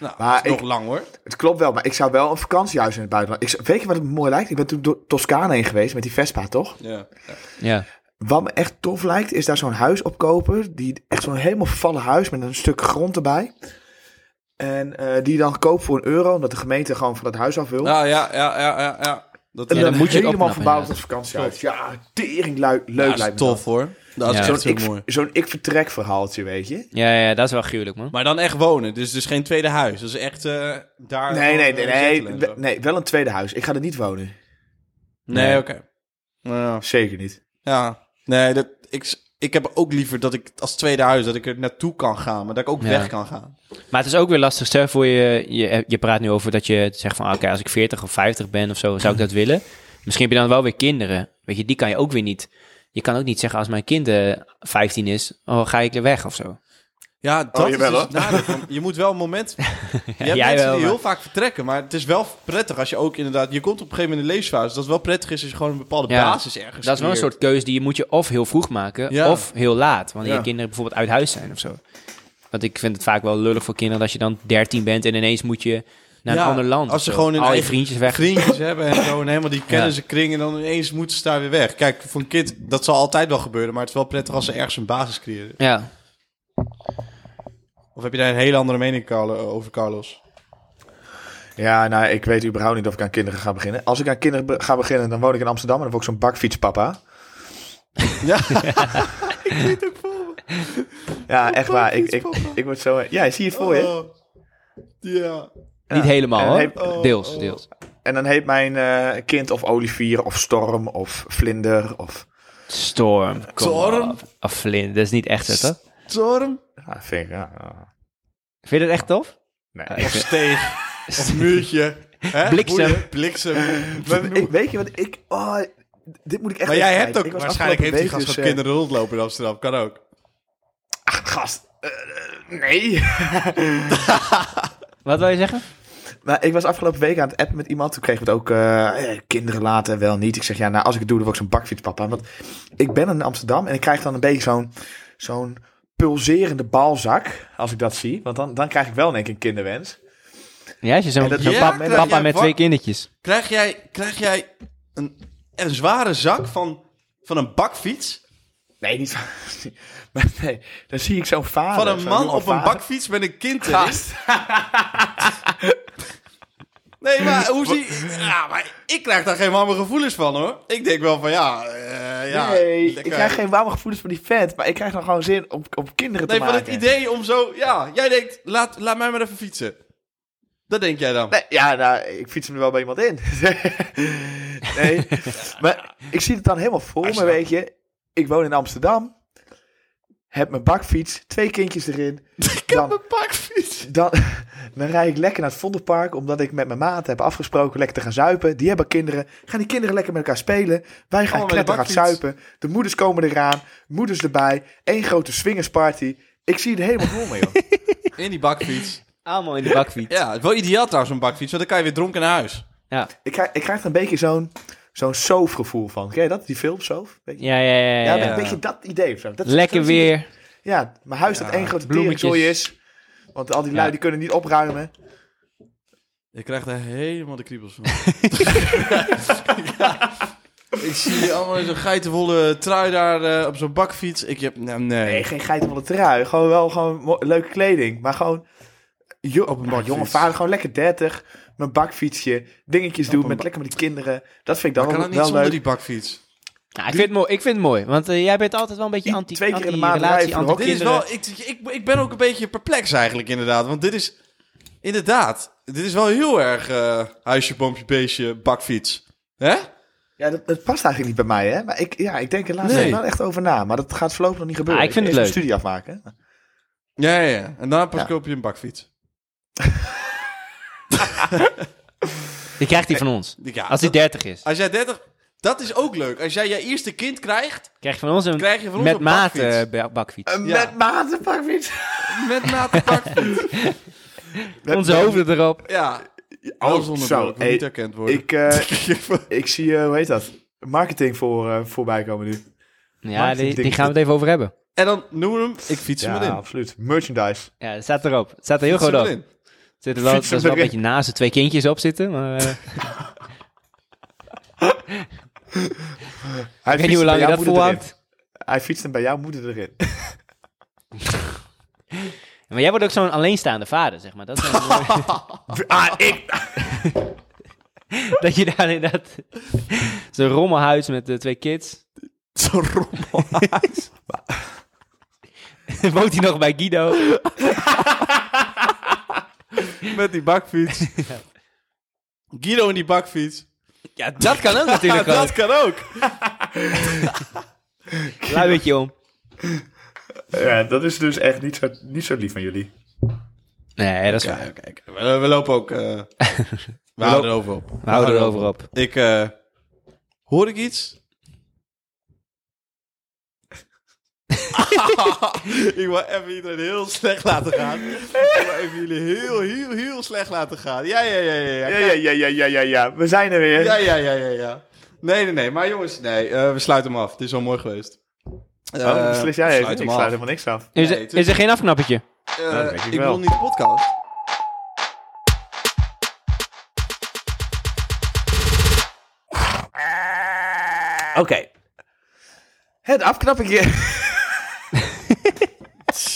Nou,
maar
dat is
ik-
nog lang hoor.
Het klopt wel, maar ik zou wel een vakantiehuis in het buitenland... Ik, zou- weet je wat het me mooi lijkt? Ik ben toen door Toscane heen geweest met die Vespa, toch?
Ja.
Oh. Ja.
Wat me echt tof lijkt, is daar zo'n huis opkopen. Die, echt zo'n helemaal vervallen huis met een stuk grond erbij. En eh, die je dan koopt voor een euro, omdat de gemeente gewoon van dat huis af wil.
Nou ja, ja, ja, ja. ja. Dat,
en
Ja,
dan,
dan moet je het
helemaal
opknappen,
verbouwd
ja.
als vakantiehuis. Ja, tering lui- leuk
Ja, is
lijkt me
tof hoor. Dat is
Ja.
dat.
echt
Zo'n
heel
ik,
mooi.
zo'n ik vertrek verhaaltje, weet je.
Ja, ja, dat is wel gruwelijk, man.
Maar dan echt wonen. Dus, dus geen tweede huis. Dat is echt eh, daar.
Nee, nee,
eh,
nee, nee,
settelen en
we-
zo.
nee, wel een tweede huis. Ik ga er niet wonen.
Nee,
Nee.
oké. Nou ja.
Oh, Zeker niet.
Ja, nee, dat, ik, ik heb ook liever dat ik als tweede huis dat ik er naartoe kan gaan, maar dat ik ook
Ja.
weg kan gaan.
Maar het is ook weer lastig. Stel voor je, je, je praat nu over dat je zegt van, ah, oké, als ik 40 of 50 ben of zo, zou ik dat willen. Misschien heb je dan wel weer kinderen. Weet je, die kan je ook weer niet. Je kan ook niet zeggen als mijn kind eh, 15 is, oh, ga ik er weg of zo.
Ja, dat
jawel,
is dus
hoor.
het nadeel van- Je moet wel een moment. Je hebt
jij
mensen
wel,
die
maar-
heel vaak vertrekken, maar het is wel prettig als je ook inderdaad. Je komt op een gegeven moment in de levensfase. Dat het wel prettig is als je gewoon een bepaalde
Ja,
basis ergens.
Dat is wel een
creëert.
soort keuze die je moet je of heel vroeg maken,
Ja.
of heel laat. Wanneer
Ja.
je kinderen bijvoorbeeld uit huis zijn of zo. Want ik vind het vaak wel lullig voor kinderen dat je dan 13 bent en ineens moet je naar
Ja,
een ander land.
als
of
ze
zo.
gewoon hun
al je
eigen
vriendjes weg.
vriendjes hebben en zo en helemaal die kennen ze kring en dan ineens moeten ze daar weer weg. Kijk, voor een kind dat zal altijd wel gebeuren, maar het is wel prettig als ze ergens een basis creëren.
Ja.
Of heb je daar een hele andere mening Carlo- eh, over, Carlos?
Ja, nou, ik weet überhaupt niet of ik aan kinderen ga beginnen. Als ik aan kinderen be- ga beginnen, dan woon ik in Amsterdam en dan word ik zo'n bakfietspapa.
Ja.
Ja, echt waar. Ik, ik, ik word zo... eh, Ja, zie je het voor je?
Oh. Ja.
Niet helemaal
En
hoor.
heb-
oh,
deels,
oh.
deels.
En dan heet mijn eh, kind of olivier of storm of vlinder of...
Storm. kom
Storm?
op. Of Flynn, dat is niet echt het, toch?
Storm?
Ja, vind ik, ja, ja.
Vind je dat echt tof?
nee.
Of steeg. of muurtje. Hè?
Bliksem.
Boeien, bliksem.
Maar ik, weet je wat ik... Oh, dit moet ik echt
maar jij
even
hebt
kijken.
ook,
Ik was
waarschijnlijk heeft die
afgelopen
gast gewoon
week dus, eh,
kinderen rondlopen in Amsterdam. Kan ook.
Ach, gast. eh, eh, nee.
Wat wil je zeggen?
Maar ik was afgelopen week aan het appen met iemand. Toen kreeg ik het ook eh, eh, kinderen laten en wel niet. Ik zeg, ja, nou, als ik het doe, dan word ik zo'n bakfietspapa. Want ik ben in Amsterdam en ik krijg dan een beetje zo'n zo'n pulserende balzak. Als ik dat zie. Want dan, dan krijg ik wel in één keer een kinderwens.
Ja, als je zo'n
En dat-
zo'n
Ja,
pap-
krijg
papa
jij
met
wa-
twee kindertjes.
Krijg jij, krijg jij een, een zware zak van, van een bakfiets?
Nee, niet van... Maar nee, dan zie ik zo'n vader.
Van een
zo'n
man
jonge
op een
vader.
bakfiets met een kind erin?
Gast.
Nee, maar hoe zie Ja, maar ik krijg daar geen warme gevoelens van, hoor. Ik denk wel van, ja... eh, ja
nee, ik
lekker.
krijg geen warme gevoelens van die vent. Maar ik krijg dan gewoon zin om, om kinderen
Nee,
te
van
maken.
het idee om zo... Ja, jij denkt, laat, laat mij maar even fietsen. Dat denk jij dan.
Nee, ja, nou, ik fiets hem er wel bij iemand in. nee, maar ik zie het dan helemaal voor me, weet je. Ik woon in Amsterdam, heb mijn bakfiets, twee kindjes erin.
ik
dan-
heb een bakfiets.
Dan, dan rijd ik lekker naar het Vondelpark, omdat ik met mijn maat heb afgesproken lekker te gaan zuipen. Die hebben kinderen, gaan die kinderen lekker met elkaar spelen. Wij
Allemaal
gaan
met de
kletter gaan
bakfiets.
zuipen. De moeders komen eraan, moeders erbij. Eén grote swingersparty. Ik zie het helemaal voor me, joh.
In die bakfiets.
Allemaal in de bakfiets.
Ja, het is wel ideaal trouwens, een bakfiets. Want dan kan je weer dronken naar huis.
Ja,
Ik krijg, ik krijg er een beetje zo'n zo'n soofgevoel van. Ken je dat? Die film Soof? Weet je?
ja, ja. ja, ja,
Ja,
ja.
een beetje dat idee of zo. Dat,
Lekker
dat is-
weer.
Ja, mijn huis dat één grote
bloemetjes.
teringzooi is. Want al die
Ja.
lui die kunnen niet opruimen.
Je krijgt er helemaal de kriebels van. Ik zie je allemaal in zo'n geitenwolle trui daar eh, op zo'n bakfiets. Ik heb... Nou,
Nee,
nee.
geen geiten van de trui. Gewoon wel gewoon mo- leuke kleding. Maar gewoon... Jo op een
bakfiets.
jonge vader, gewoon lekker 30. Mijn bakfietsje. Dingetjes doen
een
met
ba-
lekker met die kinderen. Dat vind ik
Dat
dan
kan
wel,
het niet
wel
zonder
leuk.
die bakfiets.
Nou, ik, vind het mooi, ik vind het mooi, want eh, jij bent altijd wel een beetje
I-
anti
twee keer in de maand
anti-relatie,
rijden voor
Dit is
anti-kinderen.
wel... Ik, ik, ik ben ook een beetje perplex eigenlijk, inderdaad. Want dit is... Inderdaad. Dit is wel heel erg eh, huisje, boompje, beestje, bakfiets. Hè?
Ja, dat, dat past eigenlijk niet bij mij, hè. Maar ik, ja, ik denk er laatst
Nee.
wel echt over na. Maar dat gaat voorlopig nog niet gebeuren.
Ah, ik vind het
Even
leuk.
een studie afmaken.
Ja, ja, ja. En daarna pas
Ja.
koop je een bakfiets.
Die krijgt hij van ons.
Ja, Ah.
Als hij 30 is,
Als jij 30... Dat is ook leuk. Als jij je eerste kind krijgt,
krijgt hij van ons een
krijg je van ons
met
een
maat
bakfiets.
eh, ba- bakfiets.
Een
Ja.
Met maten bakfiets.
Met maat een bakfiets.
Onze hoofden erop.
Ja. Wel
Oh,
zonder
zo.
broek, wil
hey,
niet herkend worden.
ik, eh, ik zie, eh, hoe heet dat? Marketing voor, eh, voorbij komen nu.
Ja, die,
Marketingding.
die gaan we het even over hebben.
en dan noemen we hem, ik fiets
ja,
hem erin.
absoluut. Merchandise.
Ja, dat staat erop. Het staat er heel
Fiets
goed
hem
op.
erin.
Het Zit er wel, dat
Fietsen
is wel een
erin.
beetje naast de twee kindjes op zitten. Maar, eh,
Hij
ik weet niet hoe lang je dat volhoudt.
Hij fietst hem bij jouw moeder erin.
Maar jij wordt ook zo'n alleenstaande vader, zeg maar. Dat, is dan-
ah, ik...
dat je daar inderdaad... Zo'n rommelhuis met de twee kids.
Zo'n rommelhuis.
Woont hij nog bij Guido?
Met die bakfiets. Guido in die bakfiets.
Ja, dat kan ook
Ja,
natuurlijk
dat
ook.
kan ook.
Lui beetje om.
Ja, dat is dus echt niet zo, niet zo lief van jullie.
Nee, dat is waar.
Ja, kijk. We, we lopen ook... eh, we houden erover op.
We houden erover op.
Ik... eh, hoor ik iets? ik wil even iedereen heel slecht laten gaan. Ik wil even jullie heel, heel, heel slecht laten gaan. Ja, ja, ja, ja.
Ja,
ja.
ja, ja, ja, ja, ja, ja. We zijn er weer.
Ja, ja, ja, ja, ja. Nee, nee, nee. Maar jongens, nee. eh, we sluiten hem af. Het is wel mooi geweest.
Oh,
Eh,
beslis jij even.
sluit hem
Ik
af.
sluit helemaal niks af.
Is,
Nee,
er, is er
tuurlijk.
geen afknappetje?
Eh,
Nou, dat weet ik
ik
wel.
wil niet de podcast.
Oké. Het afknappetje.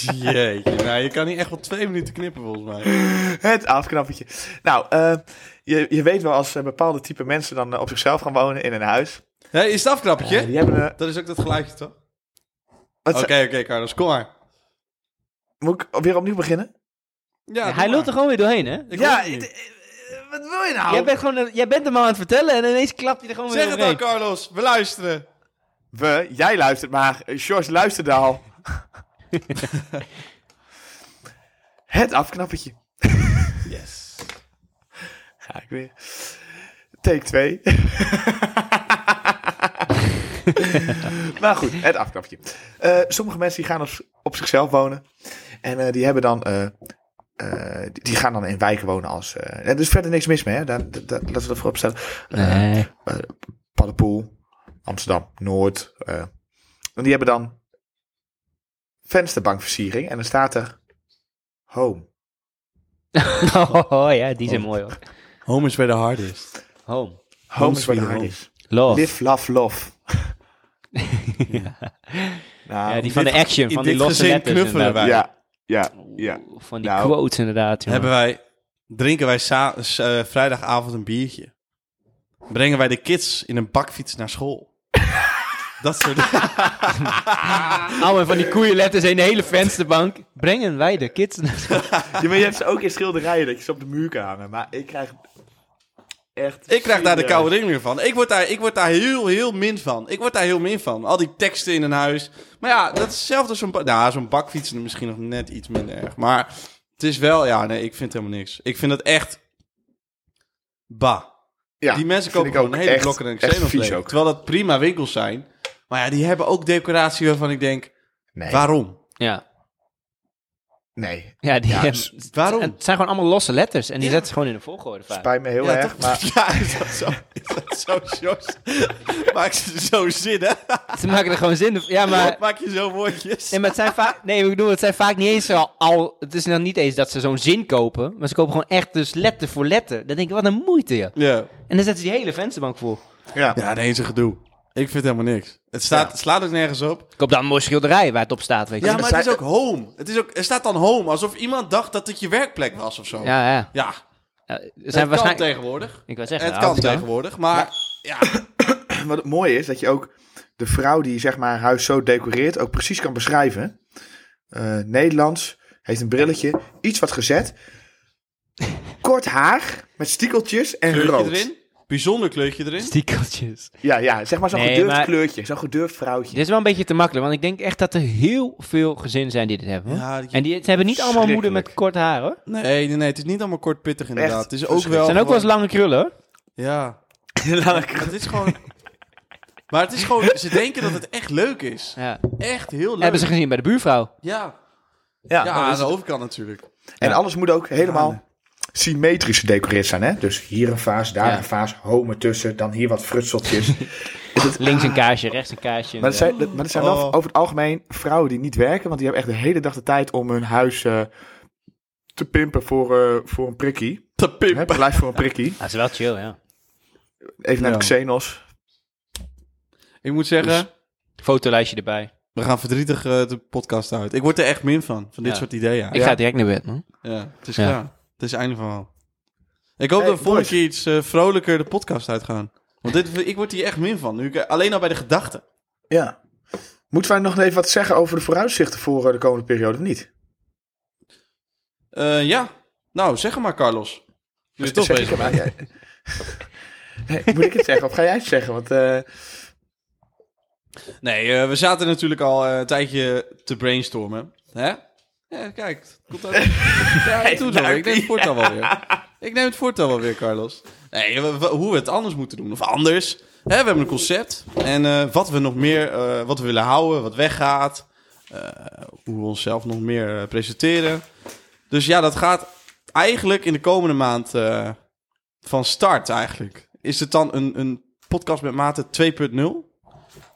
Jeetje, nou, je kan niet echt wel twee minuten knippen volgens mij.
Het afknappetje. Nou, eh, je, je weet wel als eh, bepaalde type mensen dan eh, op zichzelf gaan wonen in een huis.
Hé, is het afknappetje?
Eh, die hebben een...
Dat is ook dat geluidje, toch? Oké,
wat
oké,
ze-
Carlos, kom maar.
Moet ik weer opnieuw beginnen?
Ja, doe
Hij lult er
maar.
gewoon weer doorheen, hè?
Ik
ja,
hoor het niet.
het- eh, wat wil je nou?
Jij bent, gewoon, een- jij bent hem al aan het vertellen en ineens klapt hij er gewoon weer
Zeg het dan,
doorheen.
Carlos. We luisteren.
We, jij luistert maar. Eh, George luisterde al. het afknappetje.
Yes.
Ga ik weer. Take 2. maar goed, het afknapje. Eh, sommige mensen die gaan op, op zichzelf wonen. En eh, die hebben dan. eh, eh, die, die gaan dan in wijken wonen als. eh, er is verder niks mis mee, hè? Daar, daar- daar- laten we dat voorop stellen. Eh,
Nee.
Paddenpoel, Amsterdam, Noord. eh. en die hebben dan vensterbankversiering. En dan staat er home.
Oh ja, die zijn mooi hoor.
Home is where the heart is.
Home.
Home is waar
sweet
de hard
home.
is.
Love.
Live, love, love. Nou,
Ja, die van de Oh.
dit-
action,
in
van die
dit
losse
gezin
letters.
knuffelen
inderdaad.
wij.
ja, ja, ja.
Oeh, Van die
Nou.
quotes inderdaad, jongen.
Hebben wij, drinken wij sa- s- eh, vrijdagavond een biertje. Brengen wij de kids in een bakfiets naar school. Dat soort
Oh, en van die koeienletters in de hele vensterbank. Brengen wij de kids naar...
Ja, maar je hebt ze ook in schilderijen dat je ze op de muur kan hangen. Maar ik krijg echt...
Ik krijg daar de
serieus-
koude ring weer van. Ik word, daar, ik word daar heel, heel min van. Ik word daar heel min van. Al die teksten in een huis. Maar ja, dat is hetzelfde als zo'n... ba- Nou, zo'n bakfietsen misschien nog net iets minder erg. Maar het is wel... Ja, nee, ik vind helemaal niks. Ik vind dat echt... Bah.
Ja,
die mensen
vind
kopen
ik
gewoon
ook
hele
echt-
blokken en
echt
xenos
vies
leeg.
ook.
Terwijl dat prima winkels zijn. Maar ja, die hebben ook decoratie waarvan ik denk...
Nee,
Waarom?
Ja,
nee.
ja, die,
Ja,
hebben-
s-
waarom?
Het zijn gewoon allemaal losse letters en die zetten ze gewoon in de volgorde vaak.
Spijt me heel
ja,
erg,
toch-
maar...
ja, is dat zo? Is dat zo, Jos? Maak ze zo zin, hè?
Ze maken er gewoon zin in. Ja, maar...
Maak je zo woordjes?
Nee, maar het zijn vaak... Nee, ik bedoel, het zijn vaak niet eens al... al het is nog niet eens dat ze zo'n zin kopen. Maar ze kopen gewoon echt dus letter voor letter. Dan denk ik, wat een moeite, ja.
Ja.
En dan zetten ze die hele vensterbank vol.
Ja.
Ja, de enige gedoe. Ik vind helemaal niks. Het staat, het slaat ook nergens op.
Koop dan een mooi schilderij waar het op staat, weet je.
Ja,
Ja,
maar het is ook home. Het is ook, er staat dan home, alsof iemand dacht dat het je werkplek was of zo.
ja. ja.
Ja,
Er
het kan
zijn waarschijnlijk...
tegenwoordig.
Ik wou zeggen,
Het
nou,
kan tegenwoordig, maar ja.
Wat het mooie is, dat je ook de vrouw die zeg maar haar huis zo decoreert ook precies kan beschrijven. Eh, Nederlands, heeft een brilletje, iets wat gezet. Kort haar, met stiekeltjes en rood.
kleurtje erin. Bijzonder kleurtje erin.
Stiekeltjes.
Ja, ja, zeg maar zo'n
Nee,
gedurfd
maar-
kleurtje, zo'n gedurfd vrouwtje.
Dit is wel een beetje te makkelijk, want ik denk echt dat er heel veel gezinnen zijn die dit hebben. hoor.
Ja, die-
En die, ze hebben niet allemaal moeder met kort haar, hoor.
Nee, nee, nee, het is niet allemaal kort pittig inderdaad.
Echt
het is ook wel.
Het zijn ook wel eens
gewoon-
lange krullen, hoor.
Ja. Het is gewoon. Maar het is gewoon. Ze denken dat het echt leuk is.
Ja.
Echt heel leuk.
Hebben ze gezien bij de buurvrouw.
Ja. Ja,
Ja, dat
aan
is
de
het.
overkant natuurlijk.
En alles moet ook helemaal symmetrisch gedecoreerd zijn. Hè? Dus hier een vaas, daar
Ja.
een vaas, homen tussen, dan hier wat frutseltjes.
Links een kaarsje, rechts een kaarsje.
maar, dat zijn, dat- maar dat zijn wel
Oh.
over het algemeen vrouwen die niet werken, want die hebben echt de hele dag de tijd om hun huis eh, te pimpen voor, eh, voor een prikkie.
Te
Hè,
pimpen.
blijf voor een prikkie.
dat is wel chill, ja.
Even naar de
Ja.
Xenos.
Ik moet zeggen,
Fotolijstje erbij.
we gaan verdrietig eh, de podcast uit. Ik word er echt min van, van dit
Ja.
soort ideeën.
Ik ga direct naar bed, man.
Ja, het is
Ja.
klaar. Het is het einde van wel. Ik hoop
Hey,
dat we volgende
boys.
keer iets eh, vrolijker de podcast uitgaan. Want dit, ik word hier echt min van. Nu ik, eh, alleen al bij de gedachten.
Ja. Moeten wij nog even wat zeggen over de vooruitzichten voor eh, de komende periode of niet?
Eh, ja. Nou, zeg het maar, Carlos. Nu je toch
Dus Zeg
bezig
ik hem aan, jij- nee, moet ik het zeggen of ga jij het zeggen? Want eh,
bent. Nee, eh, we zaten natuurlijk al eh, een tijdje te brainstormen. Hè? Ja, kijk. het Komt uit. ja, ik doe het wel. Ik neem het voortaan wel weer. Ik neem het voortaan wel weer, Carlos. Nee, we- we- hoe we het anders moeten doen. Of anders. Hè, we hebben een concept. En eh, wat we nog meer, eh, wat we willen houden, wat weggaat. eh, hoe we onszelf nog meer eh, presenteren. Dus ja, dat gaat eigenlijk in de komende maand eh, van start eigenlijk. Is het dan een, een podcast met mate 2.0?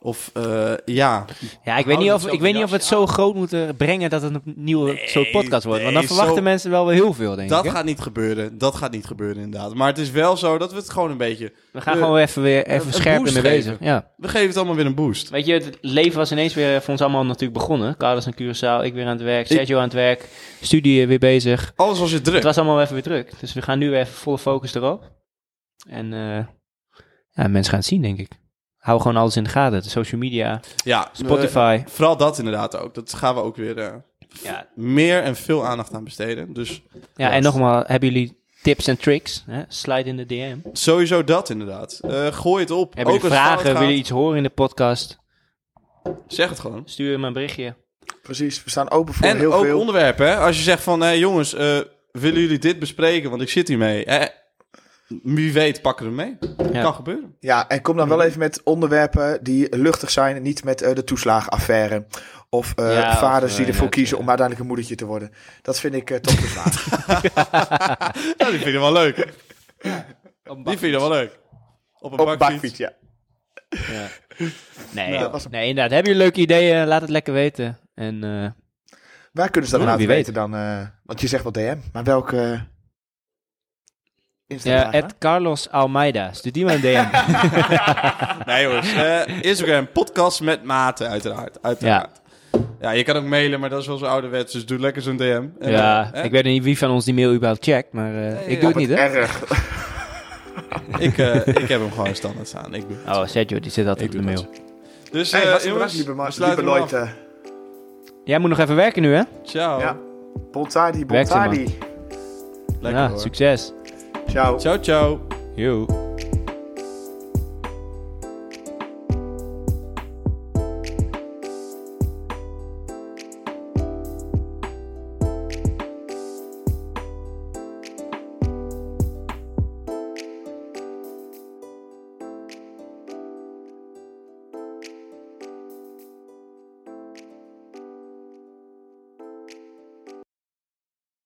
Of eh, ja,
Ja,
Oh,
ik weet, niet of, ik weet niet of we het
jasje
zo groot moeten brengen dat het een nieuwe soort podcast wordt. Want dan
nee,
verwachten
zo-
mensen wel weer heel veel, denk
dat
ik. hè?
gaat niet gebeuren. Dat gaat niet gebeuren inderdaad. Maar het is wel zo dat we het gewoon een beetje...
We gaan
eh,
gewoon even, weer, even
een
scherper
boost
mee bezig.
geven.
Ja.
We geven het allemaal weer een boost.
Weet je, het leven was ineens weer voor ons allemaal natuurlijk begonnen. Carlos en Curaçao, ik weer aan het werk, Sergio aan het werk, studie weer bezig.
Alles was weer druk.
Het was allemaal even weer druk. Dus we gaan nu weer even volle focus erop. En eh, ja, mensen gaan het zien, denk ik. Hou gewoon alles in de gaten. De social media,
Ja, we-
Spotify.
vooral dat inderdaad ook. Dat gaan we ook weer eh,
ja,
meer en veel aandacht aan besteden. Dus
ja, en nogmaals, hebben jullie tips en tricks? Hè? Slide in de DM.
sowieso dat inderdaad. Eh, gooi het op.
Hebben
ook
jullie
als het fout
vragen? Willen
gaat,
jullie iets horen in de podcast?
Zeg het gewoon.
Stuur me een berichtje.
precies, we staan open voor
En
heel
ook
veel.
onderwerpen. Hè? Als je zegt van, hé jongens, eh, willen jullie dit bespreken? Want ik zit hiermee. Eh, wie weet pakken we hem mee.
Ja.
Kan gebeuren.
Ja, en kom dan
Mhm.
wel even met onderwerpen die luchtig zijn. Niet met eh, de toeslagenaffaire. Of eh,
Ja, of,
vaders
eh,
die ervoor
ja,
kiezen
ja.
om uiteindelijk een moedertje te worden. Dat vind ik eh, toch bezwaar.
Ja, die vind ik wel leuk. Die vind ik wel leuk. Op een
Op een
bakfiets.
bakfiets, ja.
Ja. Nee,
Nou,
joh.
was een-
nee, inderdaad. Hebben jullie leuke ideeën? Laat het lekker weten. En eh,
Waar kunnen ze dat
Ja,
laten
wie
weten dan? eh, want je zegt wel DM, maar welke... eh,
ja,
Instagram? hè?
at Carlos Almeida. Stuur die maar een DM.
Nee jongens, Eh, Instagram, podcast met maten uiteraard. uiteraard. Ja. je kan ook mailen, maar dat is wel zo ouderwets. Dus doe lekker zo'n DM. En,
ja,
eh,
ik weet niet wie van ons die mail überhaupt checkt, maar eh, ik doe het niet, hè?
Erg.
Eh, ik, eh, ik heb hem gewoon standaard staan. Ik doe
Oh, Sergio, die zit altijd
Ik
op de
doe
mail.
Dus eh
Hey, was
jongens,
bedankt, lieve, ma-
we sluiten
lieve
hem af.
Leute.
Jij moet nog even werken nu, hè?
Ciao.
eh, Ja. Bontadi,
Werkt ze,
Bontadi.
Lekker
ja,
hoor.
succes.
Ciao.
Ciao, ciao.
Yo.